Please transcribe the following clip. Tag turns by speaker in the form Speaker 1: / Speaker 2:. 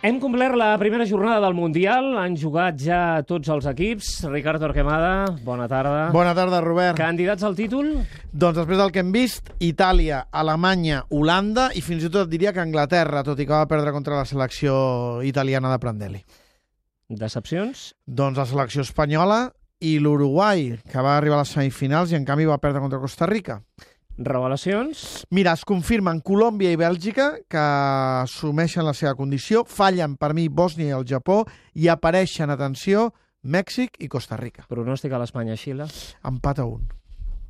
Speaker 1: Hem complert la primera jornada del Mundial, han jugat ja tots els equips. Ricardo Arquemada, bona tarda.
Speaker 2: Bona tarda, Robert.
Speaker 1: Candidats al títol?
Speaker 2: Doncs després del que hem vist, Itàlia, Alemanya, Holanda i fins i tot diria que Anglaterra, tot i que va perdre contra la selecció italiana de Prandelli.
Speaker 1: Decepcions?
Speaker 2: Doncs la selecció espanyola i l'Uruguai, que va arribar a les semifinals i en canvi va perdre contra Costa Rica.
Speaker 1: Revelacions?
Speaker 2: Mira, es confirmen Colòmbia i Bèlgica, que assumeixen la seva condició, fallen per mi Bòsnia i el Japó i apareixen, atenció, Mèxic i Costa Rica.
Speaker 1: Pronòstic a l'Espanya-Xile?
Speaker 2: Empat a un.